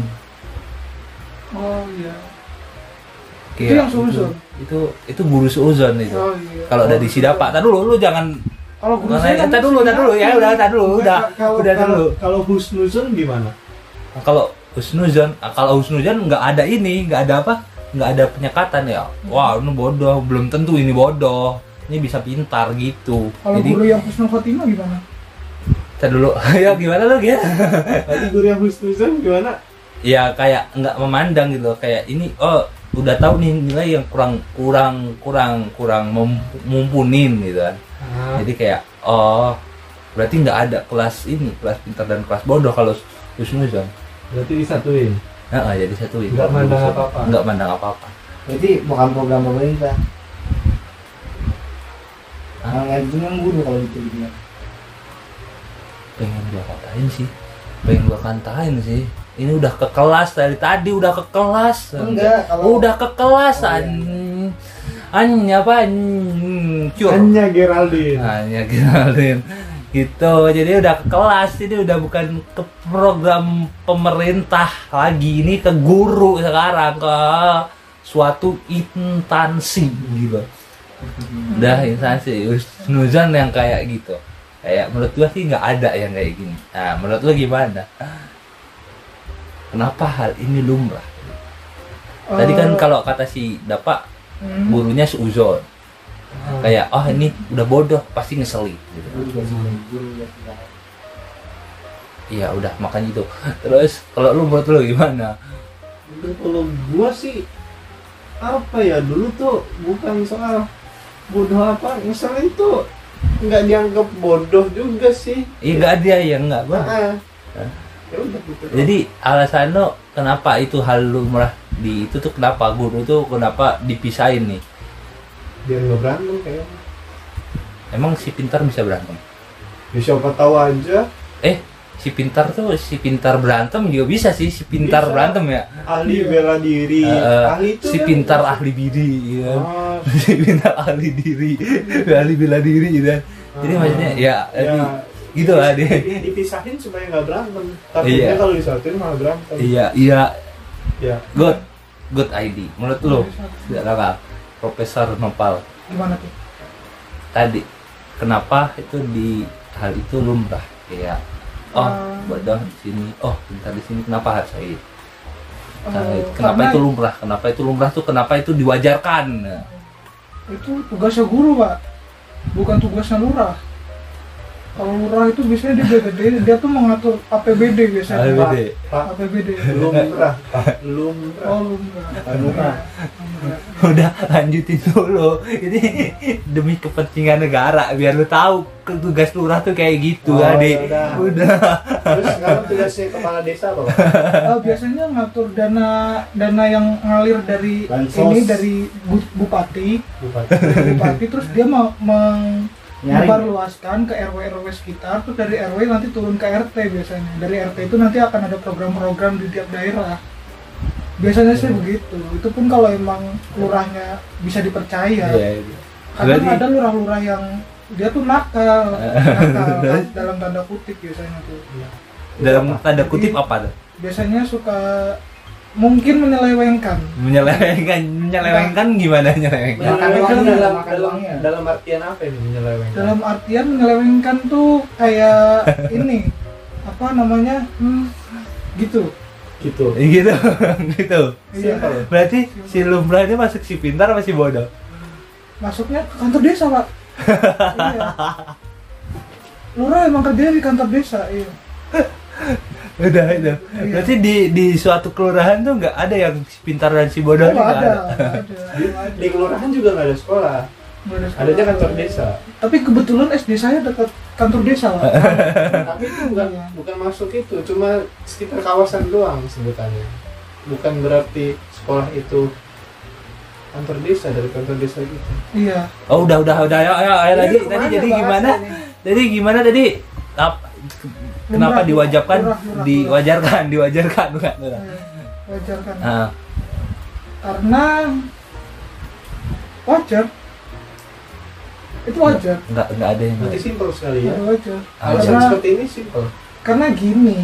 [SPEAKER 2] oh iya
[SPEAKER 1] kayak
[SPEAKER 2] yang seuzon?
[SPEAKER 1] itu itu guru seuzon itu
[SPEAKER 2] oh iya
[SPEAKER 1] Gitu. kalau dari si dapak tar dulu lu jangan
[SPEAKER 2] kalau guru saya
[SPEAKER 1] Tar dulu, tar dulu, ya, udah, tar dulu, udah,
[SPEAKER 2] kalau
[SPEAKER 1] udah
[SPEAKER 2] kalau-
[SPEAKER 1] dulu.
[SPEAKER 4] kalau husnuzon gimana?
[SPEAKER 1] kalau husnuzon ah, kalau husnuzon nggak ada ini nggak ada apa nggak ada penyekatan ya
[SPEAKER 2] Hmm.
[SPEAKER 1] wah ini bodoh belum tentu ini bodoh ini bisa pintar gitu
[SPEAKER 2] kalau
[SPEAKER 1] jadi
[SPEAKER 2] guru yang Husnul Khotimah gimana
[SPEAKER 1] tar dulu ya gimana lu gitu
[SPEAKER 4] Tadi guru yang husnuzon gimana?
[SPEAKER 1] ya kayak nggak memandang gitu loh. kayak ini oh udah tahu nih nilai yang kurang kurang kurang kurang mem- mumpunin gitu kan
[SPEAKER 4] Ah.
[SPEAKER 1] jadi kayak oh berarti nggak ada kelas ini kelas pintar dan kelas bodoh kalau husnuzon
[SPEAKER 4] berarti disatuin.
[SPEAKER 1] Nah, ah, jadi satu itu.
[SPEAKER 4] Nggak mandang apa-apa.
[SPEAKER 1] Nggak mandang apa-apa.
[SPEAKER 3] Berarti bukan program pemerintah
[SPEAKER 1] Hah?
[SPEAKER 3] Nah, ngajuin guru kalau gitu gitu
[SPEAKER 1] Pengen gua katain sih. Pengen gua katain sih. Ini udah ke kelas dari tadi udah ke kelas.
[SPEAKER 3] Enggak, kalau-
[SPEAKER 1] udah ke kelas
[SPEAKER 3] Oh, iya.
[SPEAKER 1] an. An apa? an- Cur.
[SPEAKER 4] Hanya Geraldine.
[SPEAKER 1] Hanya Ah, ya, kenalin. Gitu. Jadi udah ke kelas ini udah bukan ke program pemerintah lagi. Ini ke guru sekarang ke suatu intansi gitu. udah instansi Nuzan yang kayak gitu kayak menurut gua sih nggak ada yang kayak gini nah menurut lu gimana kenapa hal ini lumrah tadi kan
[SPEAKER 2] Eh,
[SPEAKER 1] kalau kata si Dapak
[SPEAKER 2] hmm.
[SPEAKER 1] gurunya seuzon
[SPEAKER 4] Hmm.
[SPEAKER 1] kayak oh ini udah bodoh pasti ngeselin gitu.
[SPEAKER 3] Guru juga sih guru juga sih
[SPEAKER 1] iya udah makanya itu terus kalau lu menurut lu gimana
[SPEAKER 4] Aduh, kalau gua sih apa ya dulu tuh bukan soal bodoh apa ngeselin tuh nggak dianggap bodoh juga sih
[SPEAKER 1] iya nggak ada yang nggak Bang.
[SPEAKER 4] Ah. ya udah gitu doang.
[SPEAKER 1] Jadi alasan lo kenapa itu hal lumrah di itu tuh kenapa guru tuh kenapa dipisahin nih?
[SPEAKER 4] biar nggak berantem kayak
[SPEAKER 1] Emang si pintar bisa berantem?
[SPEAKER 4] ya siapa tahu aja
[SPEAKER 1] Eh, si pintar tuh si pintar berantem juga bisa sih si pintar
[SPEAKER 4] Bisa.
[SPEAKER 1] berantem ya.
[SPEAKER 4] ahli bela diri
[SPEAKER 1] Eh,
[SPEAKER 4] Iya. ahli itu
[SPEAKER 1] si
[SPEAKER 4] kan-
[SPEAKER 1] pintar ahli diri, ya.
[SPEAKER 4] Ah,
[SPEAKER 1] si pintar ahli diri, ahli bela diri, ya. Jadi
[SPEAKER 4] Ah.
[SPEAKER 1] maksudnya ya,
[SPEAKER 4] Hmm. ya,
[SPEAKER 1] jadi gitu lah dia.
[SPEAKER 4] dipis- Iya, dipisahin supaya nggak berantem tapi
[SPEAKER 1] Iya.
[SPEAKER 4] kalau disatuin malah berantem
[SPEAKER 1] Iya, iya,
[SPEAKER 4] ya
[SPEAKER 1] good, good ID. Menurut lo, tidak apa? Profesor Nopal
[SPEAKER 2] gimana tuh
[SPEAKER 1] tadi kenapa itu di hal itu lumrah kayak oh
[SPEAKER 2] Ah.
[SPEAKER 1] bodoh di sini oh pintar di sini kenapa harus ini Oh,
[SPEAKER 2] Eh,
[SPEAKER 1] Nah, kenapa
[SPEAKER 2] karena
[SPEAKER 1] itu lumrah kenapa itu lumrah tuh kenapa itu diwajarkan Nah,
[SPEAKER 2] itu tugasnya guru pak bukan tugasnya lurah kalau lurah itu biasanya dia beda dia tuh mengatur APBD biasanya
[SPEAKER 1] hal
[SPEAKER 2] Pak.
[SPEAKER 1] gede.
[SPEAKER 4] pak
[SPEAKER 2] APBD
[SPEAKER 4] Iya, lumrah pak lumrah
[SPEAKER 2] oh lumrah
[SPEAKER 3] Lumrah.
[SPEAKER 2] Lumrah.
[SPEAKER 1] udah lanjutin dulu ini demi kepentingan negara biar lu tahu ke- tugas lurah tuh kayak gitu
[SPEAKER 4] Oh,
[SPEAKER 1] adik
[SPEAKER 4] yaudah.
[SPEAKER 1] udah
[SPEAKER 4] terus sekarang tugasnya kepala desa apa pak
[SPEAKER 2] Eh, biasanya ngatur dana dana yang ngalir dari
[SPEAKER 3] Bansos.
[SPEAKER 2] ini dari bu- bupati
[SPEAKER 4] Bupati.
[SPEAKER 2] dari bupati terus dia mau meng
[SPEAKER 3] Nyaring.
[SPEAKER 2] memperluaskan ke RW RW sekitar terus dari RW nanti turun ke RT biasanya dari RT itu nanti akan ada program-program di tiap daerah biasanya sih
[SPEAKER 1] Iya.
[SPEAKER 2] begitu itu pun kalau emang lurahnya bisa dipercaya
[SPEAKER 1] Iya, iya.
[SPEAKER 2] kadang
[SPEAKER 1] Berarti-
[SPEAKER 2] ada lurah-lurah yang dia tuh nakal, nakal dalam tanda kutip biasanya tuh
[SPEAKER 3] Iya.
[SPEAKER 1] dalam tanda kutip apa tuh
[SPEAKER 2] biasanya suka mungkin menyelewengkan
[SPEAKER 1] menyelewengkan menyelewengkan gimana menyelewengkan
[SPEAKER 3] Makan uangnya,
[SPEAKER 4] menyelewengkan dalam
[SPEAKER 3] makan
[SPEAKER 4] dalam
[SPEAKER 3] uangnya.
[SPEAKER 4] dalam artian apa ini menyelewengkan
[SPEAKER 2] dalam artian menyelewengkan tuh kayak ini apa namanya hmm, gitu
[SPEAKER 4] gitu
[SPEAKER 1] gitu gitu
[SPEAKER 2] iya
[SPEAKER 4] Simple.
[SPEAKER 1] berarti si lumrah ini masuk si pintar apa si bodoh
[SPEAKER 2] masuknya ke kantor desa pak iya. lurah emang kerja di kantor desa iya
[SPEAKER 1] udah itu berarti di di suatu kelurahan tuh nggak ada yang si pintar dan si bodoh
[SPEAKER 2] Oh,
[SPEAKER 1] ini nggak
[SPEAKER 2] ada,
[SPEAKER 1] ada
[SPEAKER 2] ada, ada.
[SPEAKER 4] di kelurahan juga nggak ada sekolah
[SPEAKER 2] nggak ada sekolah.
[SPEAKER 4] adanya kantor desa
[SPEAKER 2] tapi kebetulan SD saya dekat kantor desa lah
[SPEAKER 4] tapi itu bukan
[SPEAKER 2] Iya.
[SPEAKER 4] bukan masuk itu cuma sekitar kawasan doang sebutannya bukan berarti sekolah itu kantor desa dari kantor desa gitu
[SPEAKER 2] iya
[SPEAKER 1] Oh udah udah udah ayo ayo, ayo lagi Iya, tadi
[SPEAKER 2] Ini kemana
[SPEAKER 1] jadi
[SPEAKER 2] bahasa
[SPEAKER 1] gimana?
[SPEAKER 2] ini?
[SPEAKER 1] Jadi gimana tadi? Ap- kenapa
[SPEAKER 2] Murah,
[SPEAKER 1] diwajabkan?
[SPEAKER 2] murah, murah, murah.
[SPEAKER 1] diwajarkan, diwajarkan bukan? bukan.
[SPEAKER 2] Iya, wajar kan
[SPEAKER 1] Ah,
[SPEAKER 2] karena wajar itu wajar
[SPEAKER 1] nggak nggak ada yang
[SPEAKER 4] berarti simpel sekali ya
[SPEAKER 2] Iya, wajar
[SPEAKER 4] alasan
[SPEAKER 2] Karena-
[SPEAKER 4] seperti ini simpel
[SPEAKER 2] karena gini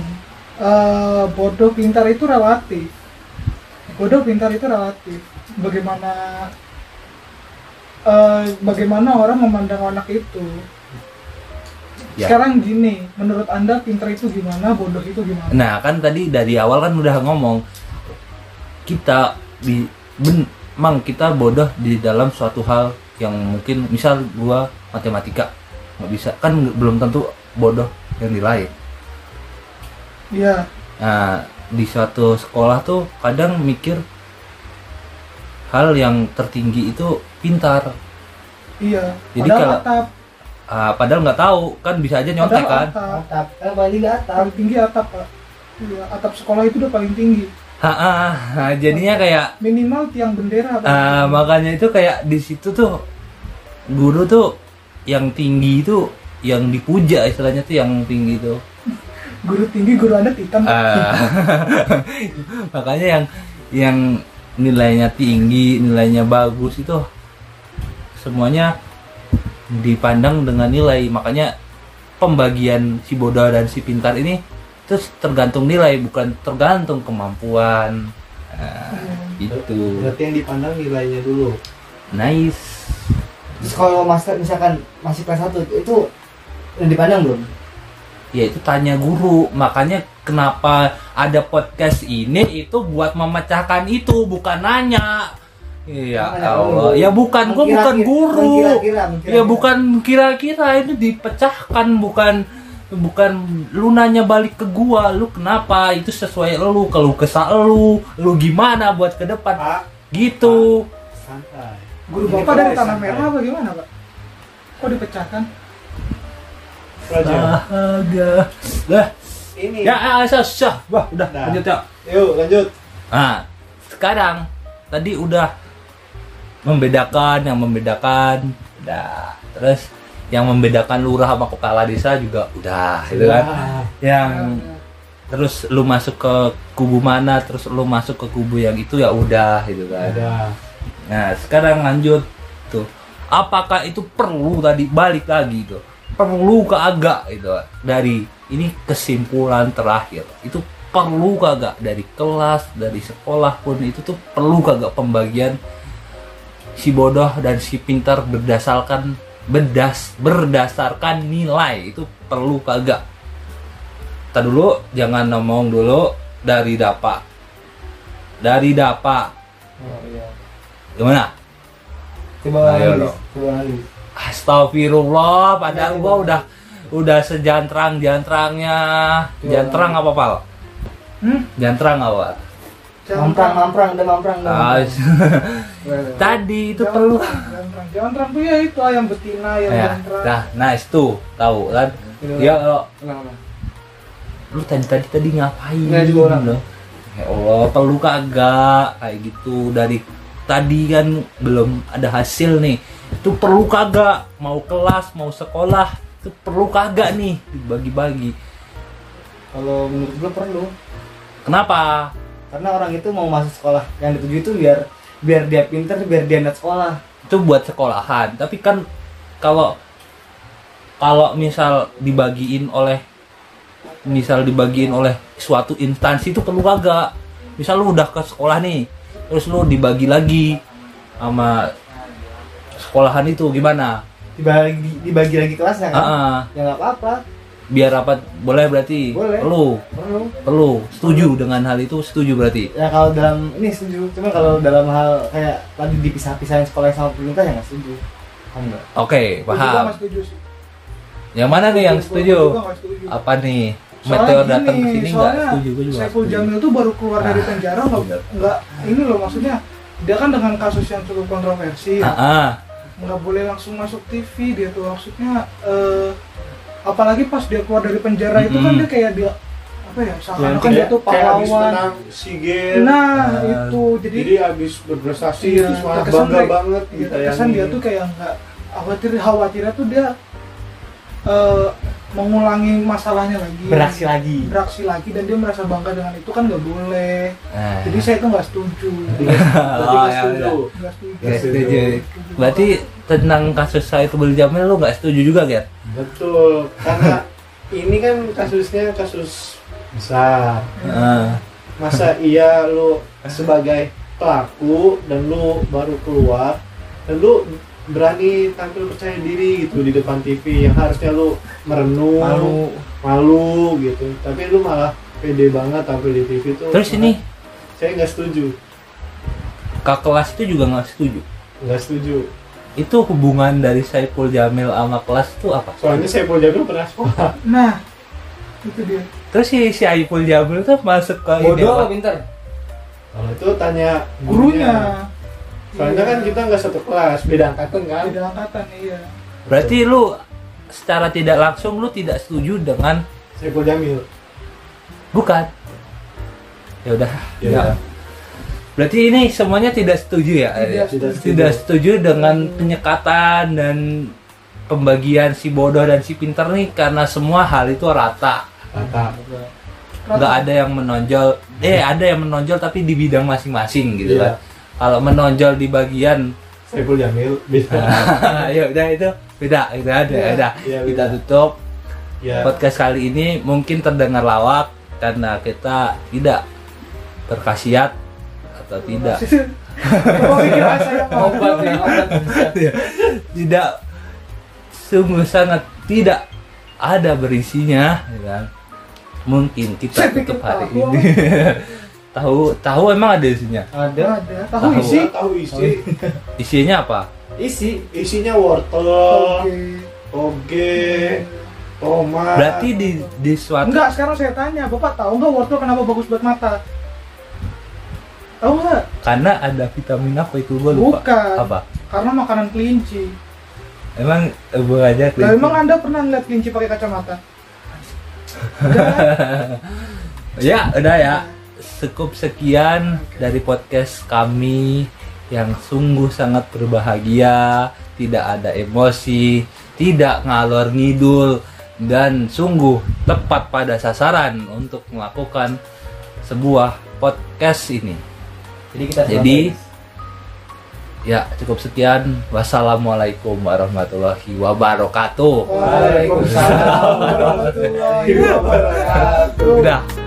[SPEAKER 2] eh, bodoh pintar itu relatif bodoh pintar itu relatif bagaimana eh, bagaimana orang memandang anak itu
[SPEAKER 1] Ya.
[SPEAKER 2] sekarang gini menurut anda pintar itu gimana bodoh itu gimana
[SPEAKER 1] Nah kan tadi dari awal kan udah ngomong kita di ben- emang kita bodoh di dalam suatu hal yang mungkin misal gua matematika nggak bisa kan nggak- belum tentu bodoh yang nilai.
[SPEAKER 2] Iya
[SPEAKER 1] Nah di suatu sekolah tuh kadang mikir hal yang tertinggi itu pintar.
[SPEAKER 2] iya
[SPEAKER 1] Jadi
[SPEAKER 2] padahal
[SPEAKER 1] kalau-
[SPEAKER 2] atap
[SPEAKER 1] Ah, padahal nggak tahu kan bisa aja nyontek kan.
[SPEAKER 2] padahal atap
[SPEAKER 3] atap kan paling nggak atap
[SPEAKER 2] paling tinggi atap pak iya atap sekolah itu udah paling tinggi
[SPEAKER 1] Ha, ah, ah, jadinya kayak
[SPEAKER 2] minimal tiang bendera Pak.
[SPEAKER 1] Ah, makanya itu kayak di situ tuh guru tuh yang tinggi itu yang dipuja istilahnya tuh yang tinggi tuh.
[SPEAKER 2] guru tinggi guru anda titan Pak.
[SPEAKER 1] Ah, makanya yang yang nilainya tinggi, nilainya bagus itu semuanya dipandang dengan nilai. Makanya pembagian si bodoh dan si pintar ini terus tergantung nilai bukan tergantung kemampuan. Ah, itu.
[SPEAKER 4] berarti yang dipandang nilainya dulu
[SPEAKER 1] Nice.
[SPEAKER 3] terus kalau master misalkan masih kelas satu itu udah dipandang belum
[SPEAKER 1] ya itu tanya guru makanya kenapa ada podcast ini itu buat memecahkan itu bukan nanya Iya
[SPEAKER 3] Bukan nanya
[SPEAKER 1] Allah
[SPEAKER 3] guru.
[SPEAKER 1] ya bukan gua bukan
[SPEAKER 3] Mengkira-kira-
[SPEAKER 1] guru
[SPEAKER 3] mengkira-kira, mengkira-kira.
[SPEAKER 1] ya bukan kira-kira itu dipecahkan bukan bukan lu nanya balik ke gua lu kenapa itu sesuai lu kalau kesal lu lu gimana buat ke depan
[SPEAKER 4] pak
[SPEAKER 1] gitu
[SPEAKER 4] santai
[SPEAKER 2] Guru
[SPEAKER 4] Ini
[SPEAKER 2] bapak dari
[SPEAKER 4] kelas
[SPEAKER 2] tanah
[SPEAKER 4] santai.
[SPEAKER 2] merah
[SPEAKER 1] ya?
[SPEAKER 2] apa gimana pak? Kok dipecahkan? Nah.
[SPEAKER 4] pelajaran
[SPEAKER 1] Astaga. Dah.
[SPEAKER 4] ini
[SPEAKER 1] ya ah, sah, sah. wah udah
[SPEAKER 4] Dah.
[SPEAKER 1] lanjut ya
[SPEAKER 4] yuk lanjut
[SPEAKER 1] Nah, sekarang tadi udah membedakan yang membedakan, udah. Terus yang membedakan lurah sama kepala desa juga udah,
[SPEAKER 4] Iya.
[SPEAKER 1] gitu kan?
[SPEAKER 4] Wah,
[SPEAKER 1] Yang
[SPEAKER 2] Ya,
[SPEAKER 1] terus lu masuk ke kubu mana, terus lu masuk ke kubu yang itu ya udah, gitu kan?
[SPEAKER 4] ada
[SPEAKER 1] Nah, sekarang lanjut tuh. Apakah itu perlu tadi balik lagi tuh? Perlu kagak gitu dari ini kesimpulan terakhir itu perlu kagak dari kelas dari sekolah pun itu tuh perlu kagak pembagian si bodoh dan si pintar berdasarkan bedas berdasarkan nilai itu perlu kagak kita dulu jangan ngomong dulu dari dapa dari dapa
[SPEAKER 3] oh iya
[SPEAKER 1] gimana
[SPEAKER 3] coba
[SPEAKER 1] Ayo,
[SPEAKER 3] analis
[SPEAKER 1] lo.
[SPEAKER 3] coba analis
[SPEAKER 1] Astagfirullah, padahal gua udah udah sejantrang jantrangnya, jantrang apa pal?
[SPEAKER 2] Hmm?
[SPEAKER 1] Jantrang apa?
[SPEAKER 3] mamprang mamprang udah mamprang udah
[SPEAKER 1] Ah,
[SPEAKER 3] mamprang.
[SPEAKER 1] Tadi itu
[SPEAKER 2] Jangan
[SPEAKER 1] perlu.
[SPEAKER 2] Jangan jangan terang tuh ya itu ayam betina ayam
[SPEAKER 1] Ya,
[SPEAKER 2] jantrang.
[SPEAKER 1] nah, nice tuh, tahu kan?
[SPEAKER 3] Gitu.
[SPEAKER 1] Ya, lo,
[SPEAKER 3] Tenang, tenang.
[SPEAKER 1] lu tadi tadi tadi ngapain?
[SPEAKER 3] Nggak juga orang.
[SPEAKER 1] Lo? Ya Allah, perlu kagak kayak gitu dari tadi kan belum ada hasil nih. Itu perlu kagak mau kelas, mau sekolah, itu perlu kagak nih dibagi-bagi.
[SPEAKER 3] kalau menurut gue perlu
[SPEAKER 1] Kenapa?
[SPEAKER 3] karena orang itu mau masuk sekolah yang dituju itu biar biar dia pinter biar dia net sekolah
[SPEAKER 1] itu buat sekolahan tapi kan kalau kalau misal dibagiin oleh misal dibagiin oleh suatu instansi itu perlu kagak misal lu udah ke sekolah nih terus lu dibagi lagi sama sekolahan itu gimana
[SPEAKER 3] dibagi dibagi lagi kelasnya
[SPEAKER 2] Eh.
[SPEAKER 3] kan
[SPEAKER 1] Ah,
[SPEAKER 3] ya nggak apa-apa
[SPEAKER 1] biar rapat boleh berarti
[SPEAKER 3] Boleh.
[SPEAKER 1] perlu
[SPEAKER 3] perlu
[SPEAKER 1] perlu setuju dengan hal itu setuju berarti
[SPEAKER 3] ya kalau dalam ini setuju cuma kalau dalam hal kayak tadi dipisah-pisahin sekolah sama pemerintah ya nggak setuju Paham nggak?
[SPEAKER 1] oke
[SPEAKER 2] Gua juga nggak
[SPEAKER 1] paham
[SPEAKER 2] setuju sih.
[SPEAKER 1] yang mana nih Iya, yang
[SPEAKER 2] Gua- gua juga
[SPEAKER 1] setuju
[SPEAKER 2] nggak setuju.
[SPEAKER 1] apa nih
[SPEAKER 2] Soalnya
[SPEAKER 1] meteor
[SPEAKER 2] gini,
[SPEAKER 1] datang ke sini nggak
[SPEAKER 2] soalnya
[SPEAKER 1] setuju gue juga nggak
[SPEAKER 2] Saiful
[SPEAKER 1] setuju.
[SPEAKER 2] Jamil tuh baru keluar dari
[SPEAKER 1] Ah,
[SPEAKER 2] penjara nggak
[SPEAKER 1] bener.
[SPEAKER 2] nggak ini loh maksudnya dia kan dengan kasus yang cukup kontroversi
[SPEAKER 1] Ah, ah.
[SPEAKER 2] nggak boleh langsung masuk TV dia tuh maksudnya eh, apalagi pas dia keluar dari penjara itu kan
[SPEAKER 1] Mm-mm.
[SPEAKER 2] dia kayak dia apa ya seakan
[SPEAKER 3] Yang
[SPEAKER 2] kan dia tuh
[SPEAKER 4] kayak habis
[SPEAKER 2] pahlawan
[SPEAKER 4] menang SEA Games
[SPEAKER 2] nah
[SPEAKER 1] Eh,
[SPEAKER 2] itu jadi,
[SPEAKER 4] jadi habis berprestasi
[SPEAKER 2] Iya,
[SPEAKER 4] terus malah
[SPEAKER 2] terkesan
[SPEAKER 4] bangga
[SPEAKER 2] kayak-
[SPEAKER 4] banget
[SPEAKER 2] Iya,
[SPEAKER 4] gitu
[SPEAKER 2] terkesan dia tuh kayak nggak khawatir khawatirnya tuh dia eh, mengulangi masalahnya lagi
[SPEAKER 3] beraksi lagi
[SPEAKER 2] beraksi lagi dan dia merasa bangga dengan itu kan nggak boleh
[SPEAKER 1] Nah,
[SPEAKER 2] jadi saya itu nggak setuju
[SPEAKER 4] Berarti
[SPEAKER 1] Oh,
[SPEAKER 4] nggak
[SPEAKER 1] ya
[SPEAKER 4] setuju.
[SPEAKER 1] udah.
[SPEAKER 2] nggak setuju
[SPEAKER 1] Nggak setuju. Berarti tentang kasus Saiful Jamil lu nggak setuju juga, Ger?
[SPEAKER 4] betul karena ini kan kasusnya kasus besar
[SPEAKER 1] Heeh.
[SPEAKER 4] masa iya lu sebagai pelaku dan lu baru keluar dan lu berani tampil percaya diri gitu di depan TV yang harusnya lu merenung malu,
[SPEAKER 3] malu
[SPEAKER 4] gitu tapi lu malah pede banget tampil di TV tuh
[SPEAKER 1] Terus ini
[SPEAKER 4] saya nggak setuju
[SPEAKER 1] kak kelas itu juga nggak setuju.
[SPEAKER 4] nggak setuju
[SPEAKER 1] Itu hubungan dari Saiful Jamil sama kelas tuh apa?
[SPEAKER 4] soalnya saya mau jamin pernah sekolah
[SPEAKER 2] nah itu dia
[SPEAKER 1] Terus si, si Saiful Jamil tuh masuk ke ini
[SPEAKER 3] bodoh
[SPEAKER 1] apa?
[SPEAKER 3] apa pinter
[SPEAKER 4] kalau itu tanya
[SPEAKER 2] gurunya
[SPEAKER 4] soalnya kan kita nggak satu kelas beda angkatan kan
[SPEAKER 2] beda angkatan iya
[SPEAKER 1] Berarti lu secara tidak langsung lu tidak setuju dengan
[SPEAKER 4] saya mau jamin
[SPEAKER 1] bukan? Ya udah.
[SPEAKER 4] Ya
[SPEAKER 1] Ya.
[SPEAKER 2] Iya.
[SPEAKER 4] udah.
[SPEAKER 1] Berarti ini semuanya tidak setuju ya?
[SPEAKER 2] Tidak
[SPEAKER 4] setuju.
[SPEAKER 1] Tidak setuju dengan penyekatan dan pembagian si bodoh dan si pintar nih karena semua hal itu rata.
[SPEAKER 4] kata
[SPEAKER 1] Nggak ada yang menonjol. Eh, ada yang menonjol tapi di bidang masing-masing gitu
[SPEAKER 4] Iya.
[SPEAKER 1] kan. Kalau menonjol di bagian
[SPEAKER 4] saya mau jamin beda
[SPEAKER 1] ya udah itu beda itu ada
[SPEAKER 2] Iya.
[SPEAKER 1] ada
[SPEAKER 4] Iya,
[SPEAKER 1] kita
[SPEAKER 4] beda.
[SPEAKER 1] tutup
[SPEAKER 4] ya
[SPEAKER 1] podcast kali ini mungkin terdengar lawak karena kita tidak berkhasiat atau tidak
[SPEAKER 2] Kok
[SPEAKER 3] Iya,
[SPEAKER 2] pikiran saya mau
[SPEAKER 3] obat ya obat
[SPEAKER 1] Iya. tidak sungguh sangat tidak ada berisinya ya kan? mungkin
[SPEAKER 2] Saya
[SPEAKER 1] kita tutup
[SPEAKER 2] pikir
[SPEAKER 1] hari
[SPEAKER 2] tahu.
[SPEAKER 1] ini tahu tahu emang ada isinya
[SPEAKER 3] ada
[SPEAKER 2] ada tahu
[SPEAKER 1] Tahu.
[SPEAKER 2] isi
[SPEAKER 4] isi tahu isi
[SPEAKER 1] isinya apa
[SPEAKER 3] isi
[SPEAKER 4] isinya wortel
[SPEAKER 2] Oke.
[SPEAKER 4] toge tomat
[SPEAKER 1] berarti di di suatu
[SPEAKER 2] enggak sekarang saya tanya bapak tahu nggak wortel kenapa bagus buat mata tahu nggak
[SPEAKER 1] karena ada vitamin apa itu gue Oh, lupa
[SPEAKER 2] bukan
[SPEAKER 1] apa
[SPEAKER 2] karena makanan kelinci
[SPEAKER 1] emang eh, gue aja
[SPEAKER 2] Lah emang anda pernah ngeliat kelinci pakai kacamata
[SPEAKER 1] Ya, udah ya. Cukup sekian dari podcast kami yang sungguh sangat berbahagia, tidak ada emosi, tidak ngalor ngidul dan sungguh tepat pada sasaran untuk melakukan sebuah podcast ini.
[SPEAKER 3] jadi kita
[SPEAKER 1] Jadi ya cukup sekian. Wassalamualaikum warahmatullahi wabarakatuh.
[SPEAKER 2] Iya.
[SPEAKER 1] Iya.
[SPEAKER 2] Waalaikumsalam warahmatullahi wabarakatuh.
[SPEAKER 1] Udah.